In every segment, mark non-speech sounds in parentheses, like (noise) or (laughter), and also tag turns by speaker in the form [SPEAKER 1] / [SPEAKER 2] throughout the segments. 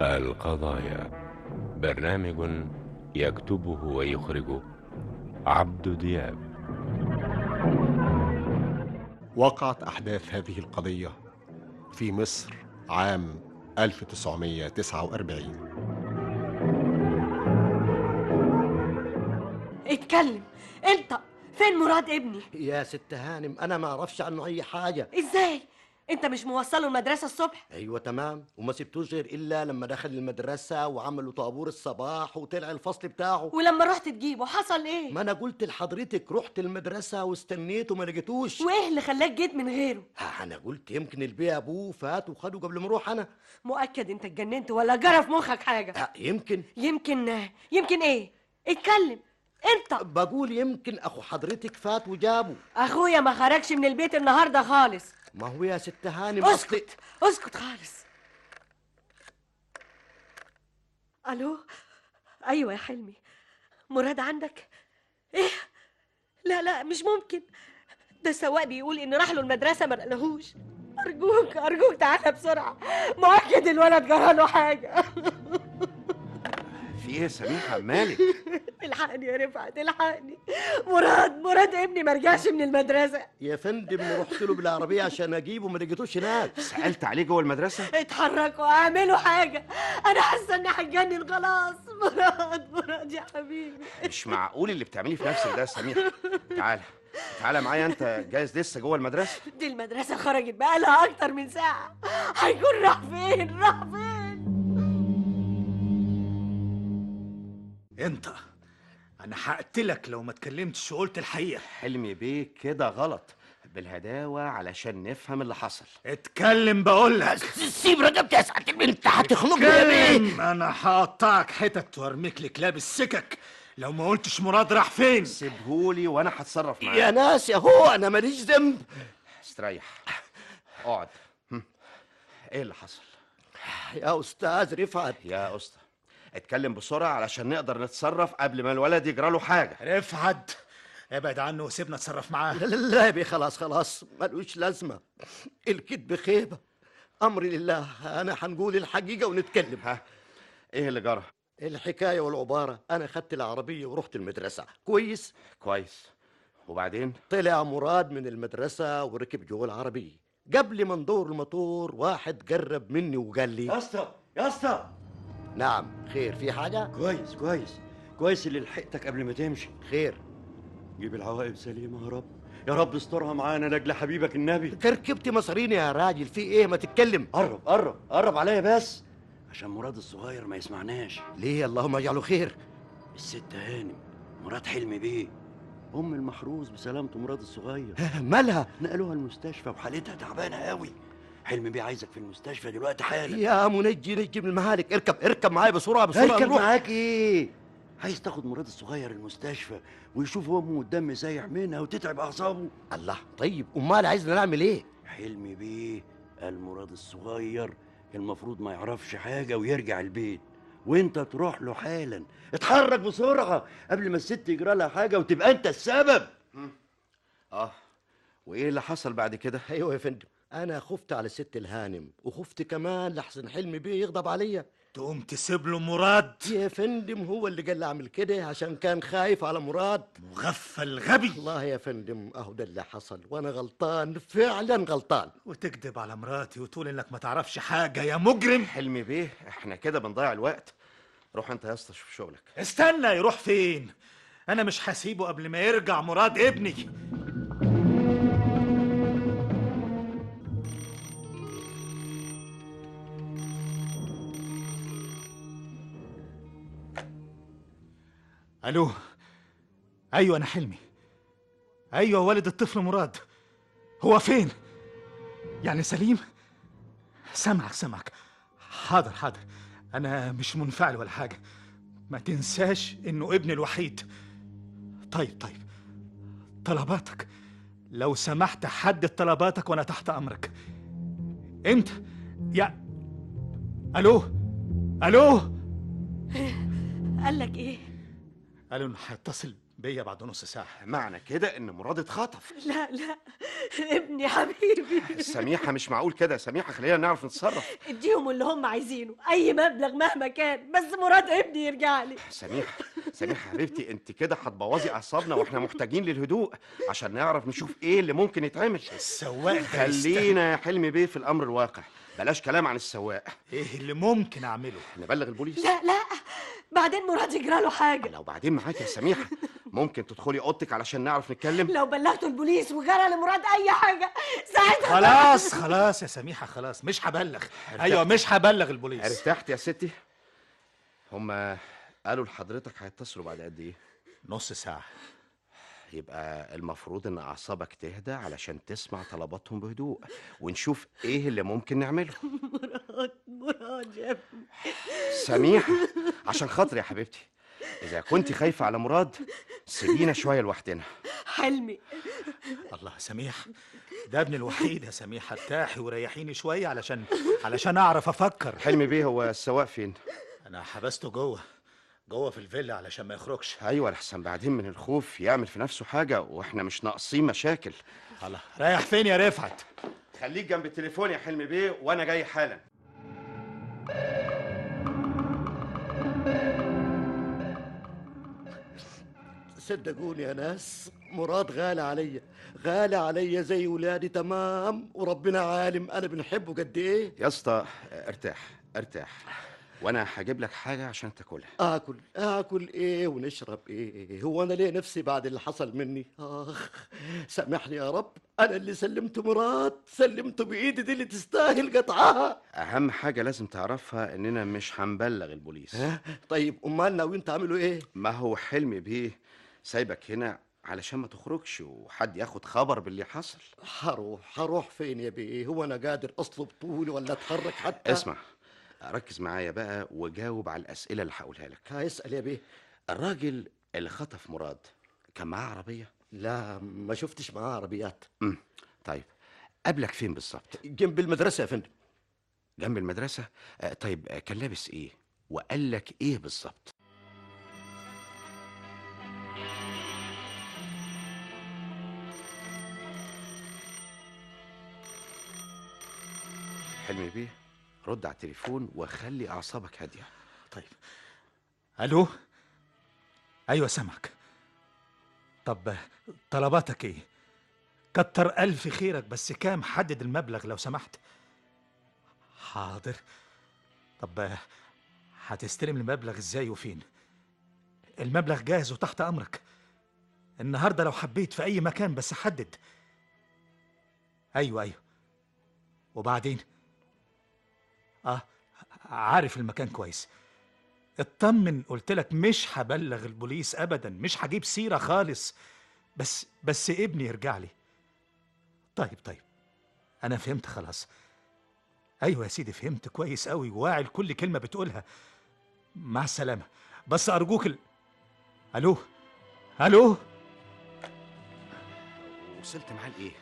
[SPEAKER 1] القضايا برنامج يكتبه ويخرجه عبد دياب
[SPEAKER 2] وقعت أحداث هذه القضية في مصر عام 1949
[SPEAKER 3] اتكلم انطق فين مراد ابني
[SPEAKER 4] يا ست هانم انا ما اعرفش عنه اي حاجه
[SPEAKER 3] ازاي انت مش موصله المدرسه الصبح
[SPEAKER 4] ايوه تمام وما سبتوش غير الا لما دخل المدرسه وعملوا طابور الصباح وطلع الفصل بتاعه
[SPEAKER 3] ولما رحت تجيبه حصل ايه
[SPEAKER 4] ما انا قلت لحضرتك رحت المدرسه واستنيت وما لقيتوش
[SPEAKER 3] وايه اللي خلاك جيت من غيره
[SPEAKER 4] ها، انا قلت يمكن البيه ابوه فات وخده قبل ما اروح انا
[SPEAKER 3] مؤكد انت اتجننت ولا جرى في مخك حاجه
[SPEAKER 4] ها، يمكن
[SPEAKER 3] يمكن يمكن ايه اتكلم انطق
[SPEAKER 4] بقول يمكن اخو حضرتك فات وجابه
[SPEAKER 3] اخويا ما خرجش من البيت النهارده خالص
[SPEAKER 4] ما هو يا ست هانم أصل-
[SPEAKER 3] اسكت اسكت خالص الو ايوه يا حلمي مراد عندك ايه لا لا مش ممكن ده السواق بيقول ان راح له المدرسه ما لقاهوش ارجوك ارجوك تعالى بسرعه مؤكد الولد جرى له حاجه
[SPEAKER 5] في ايه يا سميحه مالك
[SPEAKER 3] الحقني يا رفعت الحقني مراد مراد ابني ما رجعش من المدرسه
[SPEAKER 4] يا فندم رحت له بالعربيه عشان اجيبه ما لقيتوش هناك
[SPEAKER 5] سالت عليه جوه المدرسه
[SPEAKER 3] اتحركوا اعملوا حاجه انا حاسه اني هتجنن خلاص مراد مراد يا حبيبي
[SPEAKER 5] مش معقول اللي بتعمليه في نفسك ده يا سميحه تعالى تعالى معايا انت جايز لسه جوه المدرسه
[SPEAKER 3] دي المدرسه خرجت بقالها اكتر من ساعه هيكون راح فين راح فين
[SPEAKER 6] انت انا هقتلك لو ما اتكلمتش وقلت الحقيقه
[SPEAKER 5] حلمي بيه كده غلط بالهداوه علشان نفهم اللي حصل
[SPEAKER 6] اتكلم بقول لك
[SPEAKER 4] السيبرة ده بتاع ساعة انت هتخنقني
[SPEAKER 6] اتكلم انا هقطعك حتت وارميك لك لابس سكك لو ما قلتش مراد راح فين
[SPEAKER 5] سيبهولي وانا هتصرف معاك
[SPEAKER 4] يا ناس يا هو انا ماليش ذنب
[SPEAKER 5] استريح اقعد هم. ايه اللي حصل
[SPEAKER 4] يا استاذ رفعت
[SPEAKER 5] يا اسطى اتكلم بسرعه علشان نقدر نتصرف قبل ما الولد يجرى له حاجه
[SPEAKER 6] رفعت ابعد عنه وسيبنا اتصرف معاه
[SPEAKER 4] لا لا لا يا بيه خلاص خلاص ملوش لازمة الكذب خيبة أمري لله أنا هنقول الحقيقة ونتكلم
[SPEAKER 5] ها ايه اللي جرى
[SPEAKER 4] الحكاية والعبارة أنا خدت العربية ورحت المدرسة كويس
[SPEAKER 5] كويس وبعدين
[SPEAKER 4] طلع مراد من المدرسة وركب جوه العربية قبل ما ندور الموتور واحد قرب مني وقال لي
[SPEAKER 5] اسطى يا اسطى
[SPEAKER 4] نعم خير في حاجة
[SPEAKER 7] كويس كويس كويس اللي لحقتك قبل ما تمشي
[SPEAKER 4] خير
[SPEAKER 7] جيب العواقب سليمه يا رب يا رب استرها معانا لاجل حبيبك النبي
[SPEAKER 4] كركبت مصريني يا راجل في ايه ما تتكلم
[SPEAKER 7] قرب قرب قرب عليا بس عشان مراد الصغير ما يسمعناش
[SPEAKER 4] ليه اللهم اجعله خير
[SPEAKER 7] الست هانم مراد حلمي بيه ام المحروس بسلامته مراد الصغير
[SPEAKER 4] مالها
[SPEAKER 7] نقلوها المستشفى وحالتها تعبانه قوي حلمي بيه عايزك في المستشفى دلوقتي حالا
[SPEAKER 4] يا منجي نجي من المهالك اركب اركب معايا بسرعه بسرعه
[SPEAKER 7] اركب
[SPEAKER 4] نروح.
[SPEAKER 7] معاك ايه عايز تاخد مراد الصغير المستشفى ويشوف امه والدم سايح منها وتتعب اعصابه
[SPEAKER 4] الله طيب امال عايزنا نعمل ايه
[SPEAKER 7] حلمي بيه قال مراد الصغير المفروض ما يعرفش حاجة ويرجع البيت وانت تروح له حالا اتحرك بسرعة قبل ما الست يجرى لها حاجة وتبقى انت السبب
[SPEAKER 4] آه.
[SPEAKER 5] اه وايه اللي حصل بعد
[SPEAKER 4] (laughs)
[SPEAKER 5] كده
[SPEAKER 4] ايوه يا فندم انا خفت على الست الهانم وخفت كمان لحسن حلمي بيه يغضب عليا
[SPEAKER 6] تقوم تسيب له مراد
[SPEAKER 4] يا فندم هو اللي قال لي اعمل كده عشان كان خايف على مراد
[SPEAKER 6] مغفل غبي
[SPEAKER 4] والله يا فندم اهو ده اللي حصل وانا غلطان فعلا غلطان
[SPEAKER 6] وتكذب على مراتي وتقول انك ما تعرفش حاجه يا مجرم
[SPEAKER 5] حلمي بيه احنا كده بنضيع الوقت روح انت يا اسطى شوف شغلك
[SPEAKER 6] استنى يروح فين انا مش هسيبه قبل ما يرجع مراد ابني الو ايوه انا حلمي ايوه والد الطفل مراد هو فين يعني سليم سامعك سامعك حاضر حاضر انا مش منفعل ولا حاجه ما تنساش انه ابني الوحيد طيب طيب طلباتك لو سمحت حدد طلباتك وانا تحت امرك امتى يا الو الو
[SPEAKER 3] قال لك ايه
[SPEAKER 6] قالوا انه هيتصل بيا بعد نص ساعة
[SPEAKER 4] معنى كده ان مراد اتخطف
[SPEAKER 3] لا لا ابني حبيبي
[SPEAKER 4] سميحه مش معقول كده سميحه خلينا نعرف نتصرف
[SPEAKER 3] اديهم اللي هم عايزينه اي مبلغ مهما كان بس مراد ابني يرجع لي
[SPEAKER 4] سميحه سميحه حبيبتي انت كده هتبوظي اعصابنا واحنا محتاجين للهدوء عشان نعرف نشوف ايه اللي ممكن يتعمل
[SPEAKER 6] السواق ده يستاهل.
[SPEAKER 4] خلينا يا حلمي بيه في الامر الواقع بلاش كلام عن السواق
[SPEAKER 6] ايه اللي ممكن اعمله
[SPEAKER 4] نبلغ البوليس
[SPEAKER 3] لا لا بعدين مراد يجرى له حاجه
[SPEAKER 4] لو بعدين معاك يا سميحه ممكن تدخلي اوضتك علشان نعرف نتكلم
[SPEAKER 3] لو بلغتوا البوليس وجرى لمراد اي حاجه ساعتها
[SPEAKER 6] خلاص خلاص يا سميحة خلاص مش هبلغ ايوه مش هبلغ البوليس
[SPEAKER 4] ارتحت يا ستي هما قالوا لحضرتك هيتصلوا بعد قد ايه
[SPEAKER 6] نص ساعة
[SPEAKER 4] يبقى المفروض ان اعصابك تهدى علشان تسمع طلباتهم بهدوء ونشوف ايه اللي ممكن نعمله
[SPEAKER 3] مراد مراد يا ابني
[SPEAKER 4] سميحة عشان خاطري يا حبيبتي إذا كنت خايفة على مراد سيبينا شوية لوحدنا
[SPEAKER 3] حلمي
[SPEAKER 6] الله سميح ده ابني الوحيد يا سميح ارتاحي وريحيني شوية علشان علشان اعرف افكر
[SPEAKER 4] حلمي بيه هو السواق فين؟
[SPEAKER 6] انا حبسته جوه جوه في الفيلا علشان ما يخرجش
[SPEAKER 4] أيوة لحسن بعدين من الخوف يعمل في نفسه حاجة وإحنا مش ناقصين مشاكل
[SPEAKER 6] الله رايح فين يا رفعت
[SPEAKER 4] خليك جنب التليفون يا حلمي بيه وأنا جاي حالا
[SPEAKER 8] صدقوني يا ناس مراد غالي عليا غالي عليا زي ولادي تمام وربنا عالم انا بنحبه قد ايه
[SPEAKER 4] يا اسطى ارتاح ارتاح وأنا هجيب لك حاجة عشان تاكلها
[SPEAKER 8] اكل اكل ايه ونشرب ايه هو انا ليه نفسي بعد اللي حصل مني اخ سامحني يا رب انا اللي سلمت مراد سلمته بايدي دي اللي تستاهل قطعها
[SPEAKER 4] أهم حاجة لازم تعرفها إننا مش هنبلغ البوليس
[SPEAKER 8] ها؟ طيب امال ناويين تعملوا ايه
[SPEAKER 4] ما هو حلمي بيه سايبك هنا علشان ما تخرجش وحد ياخد خبر باللي حصل
[SPEAKER 8] هروح هروح فين يا بيه هو انا قادر اصلب طولي ولا اتحرك حتى
[SPEAKER 4] اسمع ركز معايا بقى وجاوب على الأسئلة اللي هقولها لك
[SPEAKER 8] هيسال آه، يا بيه
[SPEAKER 4] الراجل اللي خطف مراد كان معاه عربية
[SPEAKER 8] لا ما شفتش معاه عربيات
[SPEAKER 4] امم طيب قابلك فين بالظبط
[SPEAKER 8] جنب المدرسه يا فندم
[SPEAKER 4] جنب المدرسة آه، طيب آه، كان لابس ايه وقال لك ايه بالظبط حلمي بيه رد على التليفون وخلي اعصابك هاديه
[SPEAKER 6] طيب الو ايوه سامعك طب طلباتك ايه كتر الف خيرك بس كام حدد المبلغ لو سمحت حاضر طب هتستلم المبلغ ازاي وفين المبلغ جاهز وتحت امرك النهارده لو حبيت في اي مكان بس حدد ايوه ايوه وبعدين اه عارف المكان كويس اطمن قلت لك مش هبلغ البوليس ابدا مش هجيب سيره خالص بس بس ابني يرجع لي طيب طيب انا فهمت خلاص ايوه يا سيدي فهمت كويس قوي واعي لكل كلمه بتقولها مع السلامه بس ارجوك ال... الو الو
[SPEAKER 4] وصلت معاه لايه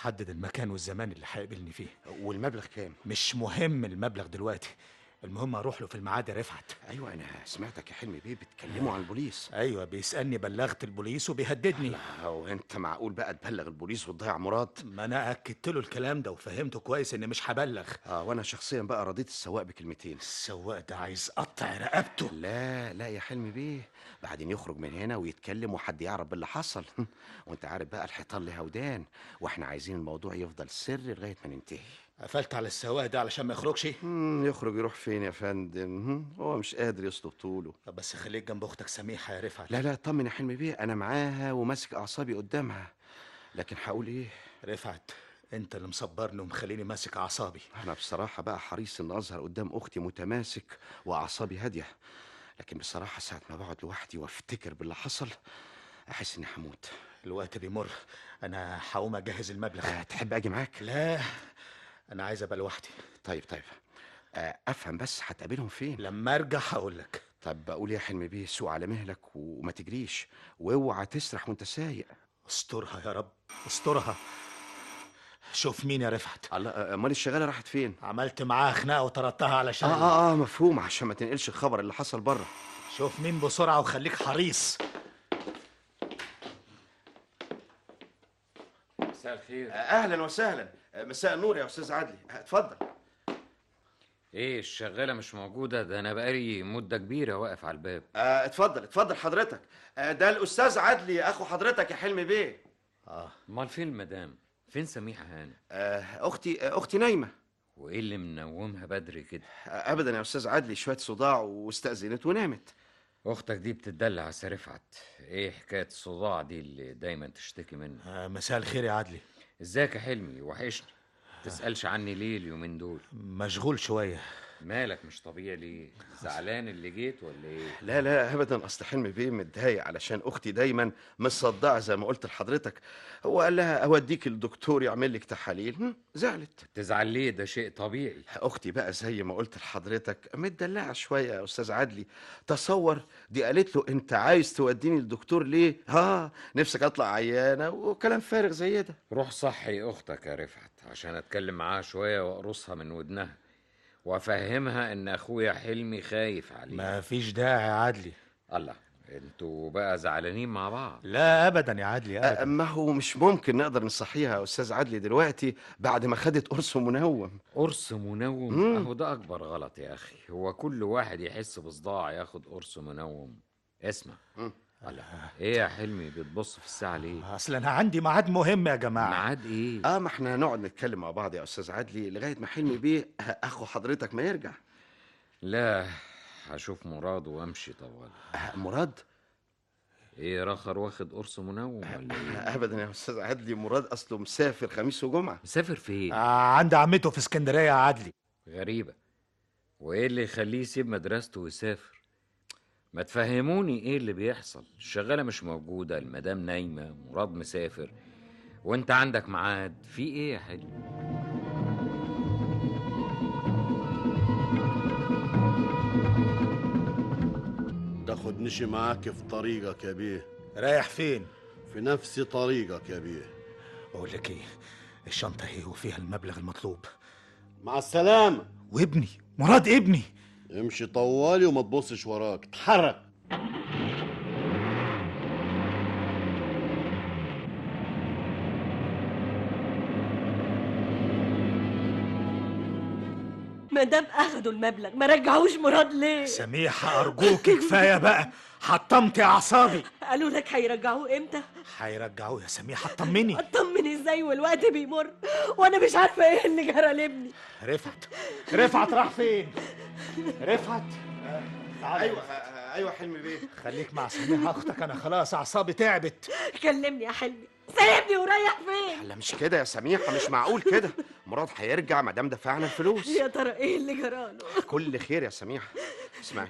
[SPEAKER 6] حدد المكان والزمان اللي هيقابلني فيه
[SPEAKER 4] والمبلغ كام
[SPEAKER 6] مش مهم المبلغ دلوقتي المهم اروح له في الميعاد يا رفعت
[SPEAKER 4] ايوه انا سمعتك يا حلمي بيه بتكلموا عن البوليس
[SPEAKER 6] ايوه بيسالني بلغت البوليس وبيهددني
[SPEAKER 4] هو انت آه، معقول بقى تبلغ البوليس وتضيع مراد
[SPEAKER 6] ما انا اكدت له الكلام ده وفهمته كويس اني مش هبلغ
[SPEAKER 4] اه وانا شخصيا بقى رضيت السواق بكلمتين
[SPEAKER 6] السواق ده عايز قطع رقبته
[SPEAKER 4] لا لا يا حلمي بيه بعدين يخرج من هنا ويتكلم وحد يعرف باللي حصل (laughs) وانت عارف بقى الحيطان له ودان واحنا عايزين الموضوع يفضل سر لغايه ما ننتهي
[SPEAKER 6] قفلت على السواق ده علشان ما يخرجش
[SPEAKER 4] مم، يخرج يروح فين يا فندم هم، هو مش قادر يصلب طوله
[SPEAKER 6] طب بس خليك جنب اختك سميحه يا رفعت
[SPEAKER 4] لا لا اطمن يا حلمي بيه انا معاها وماسك اعصابي قدامها لكن هقول ايه
[SPEAKER 6] رفعت انت اللي مصبرني ومخليني ماسك اعصابي
[SPEAKER 4] انا بصراحه بقى حريص ان اظهر قدام اختي متماسك واعصابي هاديه لكن بصراحه ساعه ما بقعد لوحدي وافتكر باللي حصل احس اني هموت
[SPEAKER 6] الوقت بيمر انا هقوم اجهز المبلغ
[SPEAKER 4] أه، تحب اجي معاك
[SPEAKER 6] لا انا عايز ابقى لوحدي
[SPEAKER 4] طيب طيب أه، افهم بس هتقابلهم فين
[SPEAKER 6] لما ارجع هقول لك
[SPEAKER 4] طب بقول يا حلمي بيه سوق على مهلك وما تجريش واوعى تسرح وانت سايق
[SPEAKER 6] استرها يا رب استرها شوف مين يا رفعت
[SPEAKER 4] الله أه، امال الشغاله راحت فين آه،
[SPEAKER 6] عملت معاها خناقه وطردتها علشان
[SPEAKER 4] اه اه اه مفهوم عشان ما تنقلش الخبر اللي حصل بره
[SPEAKER 6] شوف مين بسرعه وخليك حريص
[SPEAKER 1] مساء
[SPEAKER 4] آه،
[SPEAKER 1] الخير
[SPEAKER 4] اهلا وسهلا آه، مساء النور يا استاذ عدلي آه، اتفضل
[SPEAKER 9] ايه الشغالة مش موجودة ده انا بقالي مدة كبيرة واقف على الباب
[SPEAKER 4] آه، اتفضل اتفضل حضرتك آه، ده الاستاذ عدلي اخو حضرتك يا حلمي بيه
[SPEAKER 9] اه امال فين المدام فين سميحة هاني
[SPEAKER 4] آه، اختي آه، اختي نايمه
[SPEAKER 9] وايه اللي منومها بدري كده
[SPEAKER 4] آه، ابدا يا استاذ عدلي شويه صداع واستاذنت ونامت
[SPEAKER 9] اختك دي بتدلع على رفعت ايه حكاية الصداع دي اللي دايما تشتكي منه
[SPEAKER 6] آه، مساء الخير يا عدلي
[SPEAKER 9] ازيك يا حلمي وحشني تسألش عني ليه اليومين دول
[SPEAKER 6] مشغول شويه
[SPEAKER 9] مالك مش طبيعي ليه زعلان اللي جيت ولا ايه
[SPEAKER 4] لا لا ابدا اصل حلمي بيه متضايق علشان اختي دايما مصدعه زي ما قلت لحضرتك هو قال لها اوديك الدكتور يعمل لك تحاليل هم، زعلت
[SPEAKER 9] تزعل ليه ده شيء طبيعي
[SPEAKER 4] اختي بقى زي ما قلت لحضرتك متدلعه شويه يا استاذ عدلي تصور دي قالت له انت عايز توديني الدكتور ليه ها نفسك اطلع عيانه وكلام فارغ زي ده
[SPEAKER 9] روح صحي اختك يا رفعت عشان اتكلم معاها شوية واقرصها من ودنها وافهمها ان اخويا حلمي خايف عليها
[SPEAKER 6] ما فيش داعي يا عدلي
[SPEAKER 9] الله انتوا بقى زعلانين مع بعض
[SPEAKER 6] لا ابدا يا عدلي
[SPEAKER 4] أه،
[SPEAKER 6] أبداً.
[SPEAKER 4] ما هو مش ممكن نقدر نصحيها يا استاذ عدلي دلوقتي بعد ما خدت قرص منوم
[SPEAKER 9] قرص منوم
[SPEAKER 4] مم.
[SPEAKER 9] اهو ده اكبر غلط يا اخي هو كل واحد يحس بصداع ياخد قرص منوم اسمع
[SPEAKER 4] مم.
[SPEAKER 9] الله ايه يا حلمي بتبص في الساعه ليه
[SPEAKER 6] اصل انا عندي ميعاد مهم يا جماعه
[SPEAKER 9] ميعاد ايه
[SPEAKER 4] اه ما احنا هنقعد نتكلم مع بعض يا استاذ عدلي لغايه ما حلمي بيه اخو حضرتك ما يرجع
[SPEAKER 9] لا هشوف مراد وامشي طوال
[SPEAKER 4] آه، مراد
[SPEAKER 9] ايه رخر واخد قرص منوم ولا
[SPEAKER 4] آه،
[SPEAKER 9] ايه
[SPEAKER 4] ابدا يا استاذ عدلي مراد اصله مسافر خميس وجمعه
[SPEAKER 9] مسافر فين
[SPEAKER 6] آه، عند عمته في اسكندريه يا عدلي
[SPEAKER 9] غريبه وايه اللي يخليه يسيب مدرسته ويسافر ما تفهموني ايه اللي بيحصل الشغاله مش موجوده المدام نايمه مراد مسافر وانت عندك ميعاد في ايه يا حلمي
[SPEAKER 8] تاخدنيش معاك في طريقك يا بيه
[SPEAKER 6] رايح فين
[SPEAKER 8] في نفس طريقك يا بيه
[SPEAKER 6] بقول لك ايه الشنطه ايه وفيها المبلغ المطلوب
[SPEAKER 8] مع السلامة
[SPEAKER 6] وابني مراد ابني
[SPEAKER 8] امشي طوالي وما تبصش وراك اتحرك
[SPEAKER 3] ما دام اخدوا المبلغ ما رجعوش مراد ليه
[SPEAKER 6] سميحه ارجوك كفايه بقى حطمتي اعصابي
[SPEAKER 3] قالوا لك هيرجعوه امتى
[SPEAKER 6] هيرجعوه يا سميحه اطمني
[SPEAKER 3] اطمن ازاي والوقت بيمر وانا مش عارفه ايه اللي جرى لابني
[SPEAKER 6] رفعت رفعت راح فين رفعت تعالى.
[SPEAKER 8] أيوة.
[SPEAKER 4] ايوه آه، ايوه حلمي بيه
[SPEAKER 6] خليك مع سميحه اختك انا خلاص اعصابي تعبت
[SPEAKER 3] كلمني يا حلمي سيبني ورايح فين
[SPEAKER 4] لا مش كده يا سميحه مش معقول كده مراد هيرجع ما دام دفعنا الفلوس
[SPEAKER 3] يا ترى ايه اللي جراله
[SPEAKER 4] كل خير يا سميحه اسمعي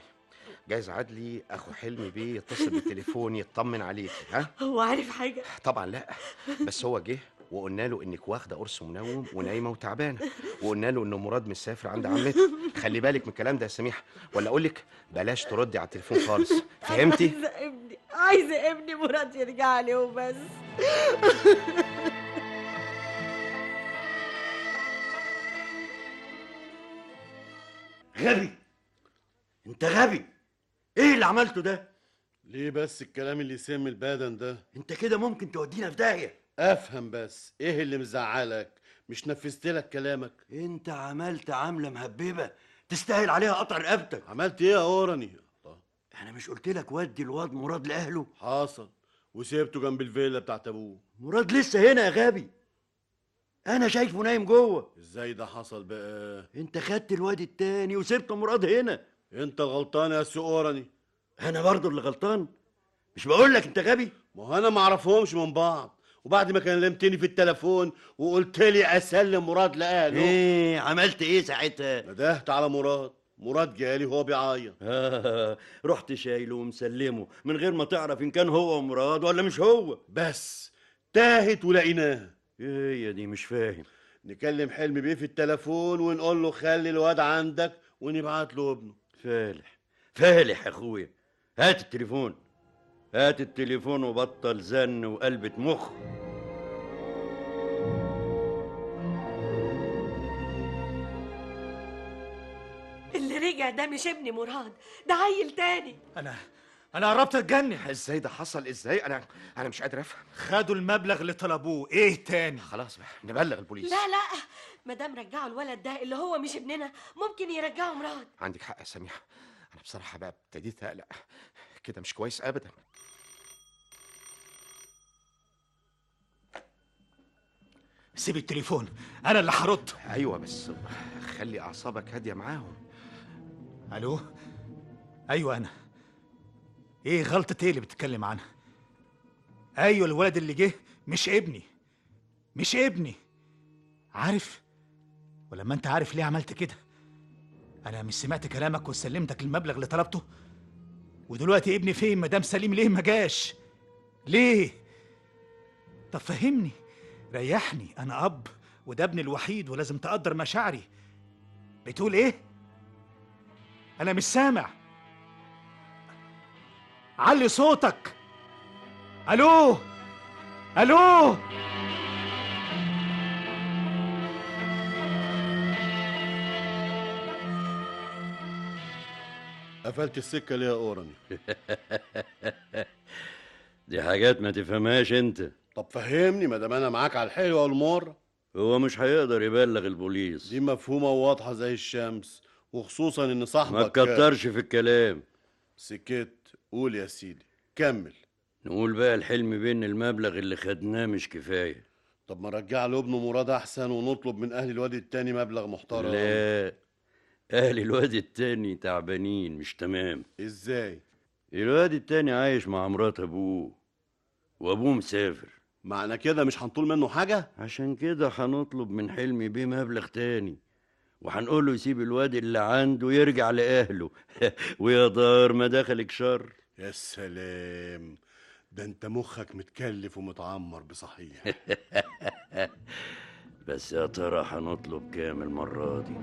[SPEAKER 4] جايز عدلي اخو حلمي بيه يتصل بالتليفون يطمن عليكي ها
[SPEAKER 3] هو عارف حاجه
[SPEAKER 4] طبعا لا بس هو جه وقلنا له انك واخده قرص منوم ونايمه وتعبانه وقلنا له ان مراد مسافر عند عمته خلي بالك من الكلام ده يا سميحه ولا اقول لك بلاش تردي على التليفون خالص
[SPEAKER 3] أنا
[SPEAKER 4] فهمتي
[SPEAKER 3] عايزه ابني عايزه ابني مراد يرجع لي وبس
[SPEAKER 7] غبي انت غبي ايه اللي عملته ده
[SPEAKER 8] ليه بس الكلام اللي يسم البدن ده
[SPEAKER 7] انت كده ممكن تودينا في داهيه
[SPEAKER 8] افهم بس ايه اللي مزعلك مش نفذت لك كلامك
[SPEAKER 7] انت عملت عامله مهببه تستاهل عليها قطع رقبتك
[SPEAKER 8] عملت ايه يا اوراني الله،
[SPEAKER 7] انا مش قلت لك ودي الواد مراد لاهله
[SPEAKER 8] حاصل وسيبته جنب الفيلا بتاعت ابوه
[SPEAKER 7] مراد لسه هنا يا غبي انا شايفه نايم جوه
[SPEAKER 8] ازاي ده حصل بقى
[SPEAKER 7] انت خدت الواد التاني وسبت مراد هنا
[SPEAKER 8] انت الغلطان يا سي اوراني
[SPEAKER 7] انا برضه اللي غلطان مش بقول لك انت غبي
[SPEAKER 8] ما هو انا ما اعرفهمش من بعض وبعد ما كلمتني في التليفون وقلت لي اسلم مراد لاهله
[SPEAKER 6] إيه؟
[SPEAKER 7] ايه عملت ايه ساعتها
[SPEAKER 8] ندهت على مراد مراد جالي هو بيعيط
[SPEAKER 7] آه (laughs) رحت شايله ومسلمه من غير ما تعرف ان كان هو مراد ولا مش هو
[SPEAKER 8] بس تاهت ولقيناها
[SPEAKER 7] ايه يا دي مش فاهم
[SPEAKER 8] نكلم حلمي بيه في التليفون ونقول له خلي الواد عندك ونبعت له ابنه
[SPEAKER 7] فالح فالح يا اخويا هات التليفون هات التليفون وبطل زن وقلبة مخ
[SPEAKER 3] اللي رجع ده مش ابني مراد ده عيل تاني
[SPEAKER 6] انا انا قربت اتجنن
[SPEAKER 4] ازاي ده حصل ازاي انا انا مش قادر افهم
[SPEAKER 6] خدوا المبلغ اللي طلبوه ايه تاني
[SPEAKER 4] خلاص بقى نبلغ البوليس
[SPEAKER 3] لا لا مدام رجعوا الولد ده اللي هو مش ابننا ممكن يرجعوا مراد
[SPEAKER 4] عندك حق يا سميحه انا بصراحه بقى ابتديت اقلق كده مش كويس ابدا
[SPEAKER 6] سيب التليفون انا اللي هرد
[SPEAKER 4] ايوه بس خلي اعصابك هاديه معاهم
[SPEAKER 6] الو ايوه انا ايه غلطة ايه اللي بتتكلم عنها ايوه الولد اللي جه مش ابني مش ابني عارف ولما انت عارف ليه عملت كده انا مش سمعت كلامك وسلمتك المبلغ اللي طلبته ودلوقتي ابني فين مدام سليم ليه ما جاش ليه طب فهمني ريحني انا اب وده ابني الوحيد ولازم تقدر مشاعري بتقول ايه انا مش سامع علي صوتك الو الو
[SPEAKER 2] قفلت السكه ليه يا اورني
[SPEAKER 7] (laughs) دي حاجات ما تفهمهاش انت
[SPEAKER 2] طب فهمني ما دام انا معاك على الحلوه والمر
[SPEAKER 7] هو مش هيقدر يبلغ البوليس
[SPEAKER 2] دي مفهومه وواضحه زي الشمس وخصوصا ان
[SPEAKER 7] ما
[SPEAKER 2] صاحبك
[SPEAKER 7] تكترش في الكلام
[SPEAKER 2] سكت قول يا سيدي كمل
[SPEAKER 7] نقول بقى الحلم بين المبلغ اللي خدناه مش كفايه
[SPEAKER 2] طب ما رجع له ابنه مراد احسن ونطلب من اهل الواد التاني مبلغ محترم
[SPEAKER 7] لا اهل الواد التاني تعبانين مش تمام
[SPEAKER 2] ازاي
[SPEAKER 7] الواد التاني عايش مع مرات ابوه وابوه مسافر
[SPEAKER 2] معنى كده مش هنطول منه حاجه
[SPEAKER 7] عشان كده هنطلب من حلمي بيه مبلغ تاني وهنقول له يسيب الواد اللي عنده يرجع لأهله (laughs) ويا دار ما دخلك شر
[SPEAKER 2] يا سلام ده انت مخك متكلف ومتعمر
[SPEAKER 7] (laughs)
[SPEAKER 2] بصحيح
[SPEAKER 7] بس يا ترى هنطلب كام المرة دي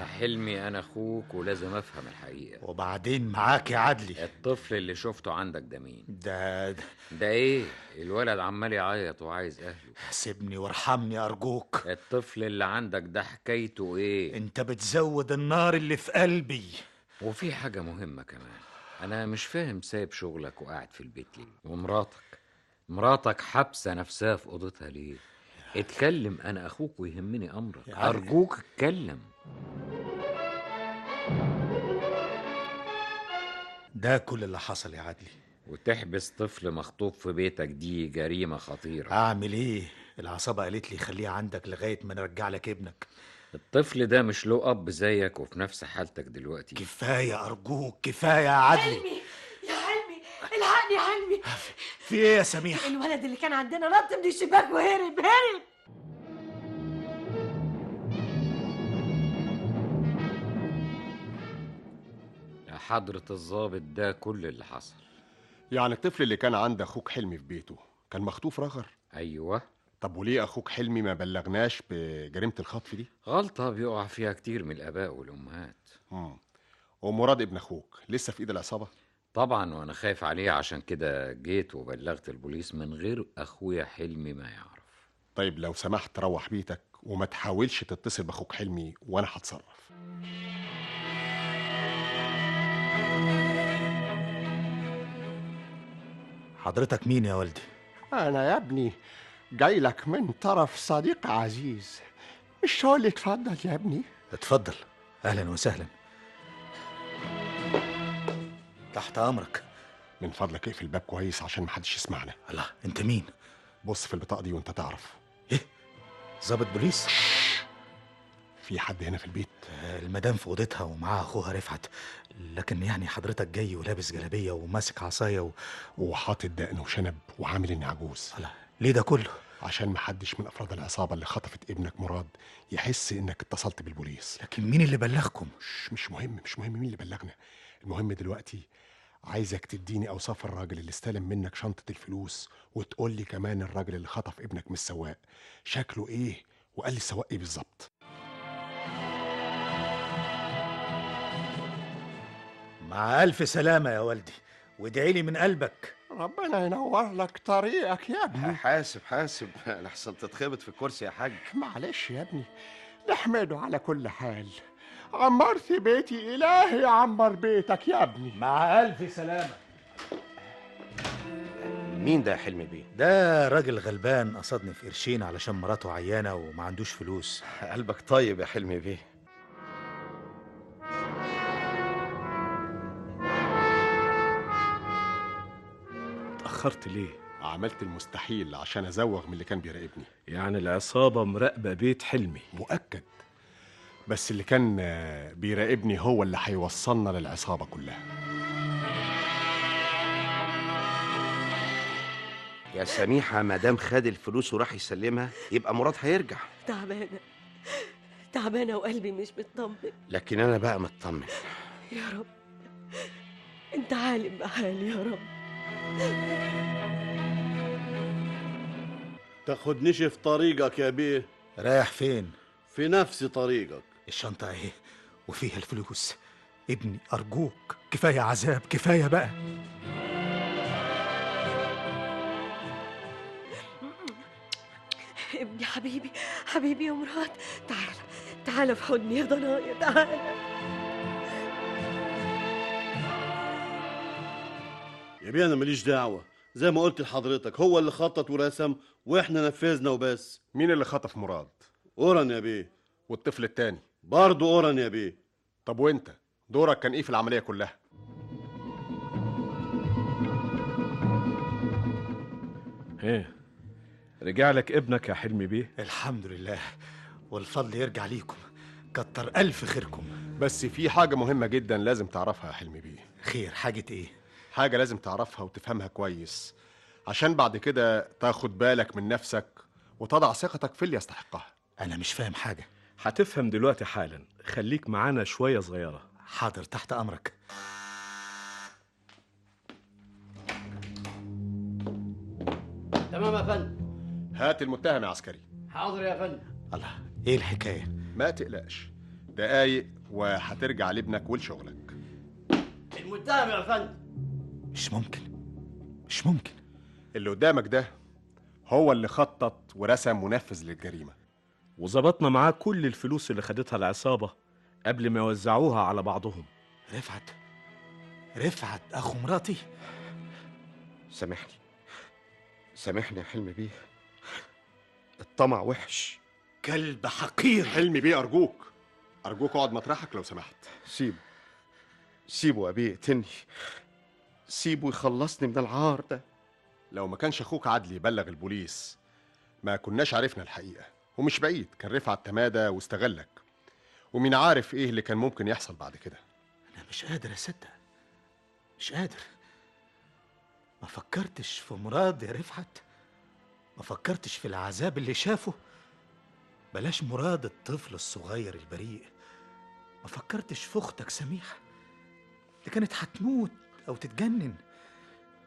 [SPEAKER 9] يا حلمي انا اخوك ولازم افهم الحقيقه
[SPEAKER 6] وبعدين معاك يا عدلي
[SPEAKER 9] الطفل اللي شفته عندك ده مين
[SPEAKER 6] ده, ده
[SPEAKER 9] ده ايه الولد عمال يعيط وعايز اهله
[SPEAKER 6] سيبني وارحمني ارجوك
[SPEAKER 9] الطفل اللي عندك ده حكايته ايه
[SPEAKER 6] انت بتزود النار اللي في قلبي
[SPEAKER 9] وفي حاجه مهمه كمان انا مش فاهم سايب شغلك وقاعد في البيت ليه ومراتك مراتك حابسه نفسها في اوضتها ليه اتكلم انا اخوك ويهمني امرك
[SPEAKER 6] يا عم.
[SPEAKER 9] ارجوك اتكلم
[SPEAKER 6] ده كل اللي حصل يا عدلي
[SPEAKER 9] وتحبس طفل مخطوب في بيتك دي جريمه خطيره
[SPEAKER 6] اعمل ايه العصابة قالت لي خليه عندك لغاية ما نرجع لك ابنك
[SPEAKER 9] الطفل ده مش له اب زيك وفي نفس حالتك دلوقتي
[SPEAKER 6] كفاية ارجوك كفاية يا عدلي
[SPEAKER 3] حلمي يا حلمي الحقني يا حلمي
[SPEAKER 6] في ايه يا سميح
[SPEAKER 3] الولد اللي كان عندنا نط من الشباك وهرب هرب
[SPEAKER 9] يا حضره الضابط ده كل اللي حصل
[SPEAKER 2] يعني الطفل اللي كان عند اخوك حلمي في بيته كان مخطوف رغر
[SPEAKER 9] ايوه
[SPEAKER 2] طب وليه اخوك حلمي ما بلغناش بجريمه الخطف دي
[SPEAKER 9] غلطه بيقع فيها كتير من الاباء والامهات
[SPEAKER 2] مم. ومراد ابن اخوك لسه في ايد العصابه
[SPEAKER 9] طبعا وانا خايف عليه عشان كده جيت وبلغت البوليس من غير اخويا حلمي ما يعرف
[SPEAKER 2] طيب لو سمحت روح بيتك وما تحاولش تتصل باخوك حلمي وانا هتصرف
[SPEAKER 6] حضرتك مين يا والدي
[SPEAKER 10] أنا يا ابني جاي لك من طرف صديق عزيز مش هو اللي اتفضل يا ابني
[SPEAKER 6] اتفضل اهلا وسهلا تحت امرك
[SPEAKER 2] من فضلك اقفل الباب كويس عشان محدش يسمعنا
[SPEAKER 6] الله انت مين
[SPEAKER 2] بص في البطاقه دي وانت تعرف
[SPEAKER 6] ظابط بوليس
[SPEAKER 2] في حد هنا في البيت
[SPEAKER 6] آه، المدام في اوضتها ومعاها اخوها رفعت لكن يعني حضرتك جاي ولابس جلابيه وماسك عصايه و...
[SPEAKER 2] وحاطط دقن وشنب وعامل اني عجوز
[SPEAKER 6] الله ليه ده كله
[SPEAKER 2] عشان محدش من افراد العصابه اللي خطفت ابنك مراد يحس انك اتصلت بالبوليس
[SPEAKER 6] لكن مين اللي بلغكم
[SPEAKER 2] مش مش مهم مش مهم مين اللي بلغنا المهم دلوقتي عايزك تديني اوصاف الراجل اللي استلم منك شنطه الفلوس وتقول لي كمان الراجل اللي خطف ابنك من السواق شكله ايه وقال لي السواق ايه بالظبط
[SPEAKER 6] مع الف سلامه يا والدي وادعي لي من قلبك
[SPEAKER 10] ربنا ينور لك طريقك يا ابني
[SPEAKER 4] حاسب حاسب (laughs) لحسن تتخبط في الكرسي يا حاج
[SPEAKER 10] معلش يا ابني نحمده على كل حال عمرت بيتي إلهي عمر بيتك يا ابني
[SPEAKER 6] مع ألف سلامة
[SPEAKER 4] مين ده يا حلمي بيه؟
[SPEAKER 6] ده راجل غلبان قصدني في قرشين علشان مراته عيانة وما عندوش فلوس
[SPEAKER 4] قلبك طيب يا حلمي بيه
[SPEAKER 2] اتأخرت ليه؟ عملت المستحيل عشان أزوغ من اللي كان بيراقبني
[SPEAKER 11] يعني العصابة مراقبة بيت حلمي
[SPEAKER 2] مؤكد بس اللي كان آه، بيراقبني هو اللي هيوصلنا للعصابة كلها
[SPEAKER 4] يا سميحة ما دام خد الفلوس وراح يسلمها يبقى مراد هيرجع
[SPEAKER 3] تعبانة تعبانة وقلبي مش مطمن
[SPEAKER 4] لكن أنا بقى مطمن
[SPEAKER 3] يا رب انت عالم بحالي يا رب
[SPEAKER 8] تاخدنيش في طريقك يا بيه
[SPEAKER 6] رايح فين؟
[SPEAKER 8] في نفس طريقك
[SPEAKER 6] الشنطة اهي وفيها الفلوس ابني أرجوك كفاية عذاب كفاية بقى
[SPEAKER 3] ابني حبيبي حبيبي يا مراد تعال تعال في حضني يا ضنايا تعال
[SPEAKER 8] يا بيه انا ماليش دعوه زي ما قلت لحضرتك هو اللي خطط ورسم واحنا نفذنا وبس
[SPEAKER 2] مين اللي خطف مراد؟
[SPEAKER 8] اورن يا بيه
[SPEAKER 2] والطفل التاني
[SPEAKER 8] برضه اورن يا بيه
[SPEAKER 2] طب وانت؟ دورك كان ايه في العملية كلها؟
[SPEAKER 11] ايه رجع لك ابنك يا حلمي بيه
[SPEAKER 6] الحمد لله والفضل يرجع ليكم كتر ألف خيركم
[SPEAKER 2] بس في حاجة مهمة جدا لازم تعرفها يا حلمي بيه
[SPEAKER 6] خير حاجة إيه؟
[SPEAKER 2] حاجة لازم تعرفها وتفهمها كويس عشان بعد كده تاخد بالك من نفسك وتضع ثقتك في اللي يستحقها
[SPEAKER 6] أنا مش فاهم حاجة
[SPEAKER 11] هتفهم دلوقتي حالا خليك معانا شوية صغيرة
[SPEAKER 6] حاضر تحت أمرك
[SPEAKER 8] تمام يا فندم
[SPEAKER 2] هات المتهم يا عسكري
[SPEAKER 8] حاضر يا فندم
[SPEAKER 6] الله إيه الحكاية؟
[SPEAKER 2] ما تقلقش دقايق وهترجع لابنك ولشغلك
[SPEAKER 8] المتهم يا فندم
[SPEAKER 6] مش ممكن مش ممكن
[SPEAKER 2] اللي قدامك ده هو اللي خطط ورسم ونفذ للجريمة
[SPEAKER 11] وظبطنا معاه كل الفلوس اللي خدتها العصابة قبل ما يوزعوها على بعضهم
[SPEAKER 6] رفعت رفعت أخو مراتي
[SPEAKER 4] سامحني سامحني يا حلمي بيه الطمع وحش
[SPEAKER 6] كلب حقير
[SPEAKER 2] حلمي بيه أرجوك أرجوك اقعد مطرحك لو سمحت
[SPEAKER 4] سيبه سيبه يا بيه اقتلني سيبه يخلصني من العار ده
[SPEAKER 2] لو ما كانش أخوك عدلي بلغ البوليس ما كناش عرفنا الحقيقة ومش بعيد كان رفعت تمادى واستغلك ومين عارف إيه اللي كان ممكن يحصل بعد كده
[SPEAKER 6] أنا مش قادر أصدق مش قادر ما فكرتش في مراد يا رفعت ما فكرتش في العذاب اللي شافه بلاش مراد الطفل الصغير البريء ما فكرتش في أختك سميحة دي كانت هتموت أو تتجنن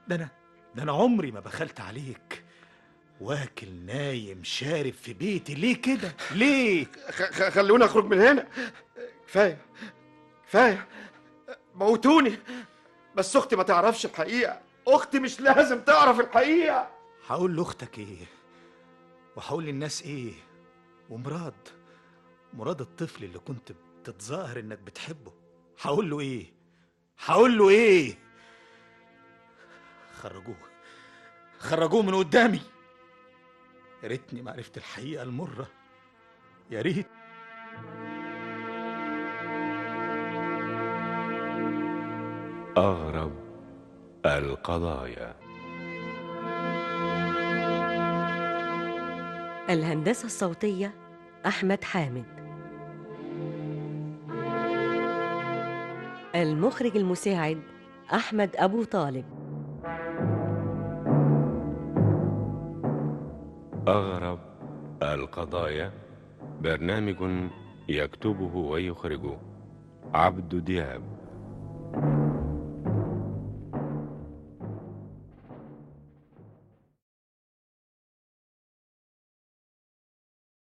[SPEAKER 6] ده أنا ده أنا عمري ما بخلت عليك واكل نايم شارب في بيتي ليه كده؟ ليه؟
[SPEAKER 4] خ- خ- خلوني اخرج من هنا كفايه كفايه موتوني بس اختي ما تعرفش الحقيقه اختي مش لازم تعرف الحقيقه
[SPEAKER 6] هقول لاختك ايه وهقول للناس ايه ومراد مراد الطفل اللي كنت بتتظاهر انك بتحبه هقول له ايه هقول له ايه خرجوه خرجوه من قدامي يا ريتني ما عرفت الحقيقه المره يا ريت
[SPEAKER 1] أغرب القضايا
[SPEAKER 3] الهندسة الصوتية أحمد حامد المخرج المساعد أحمد أبو طالب
[SPEAKER 1] أغرب القضايا برنامج يكتبه ويخرجه عبد دياب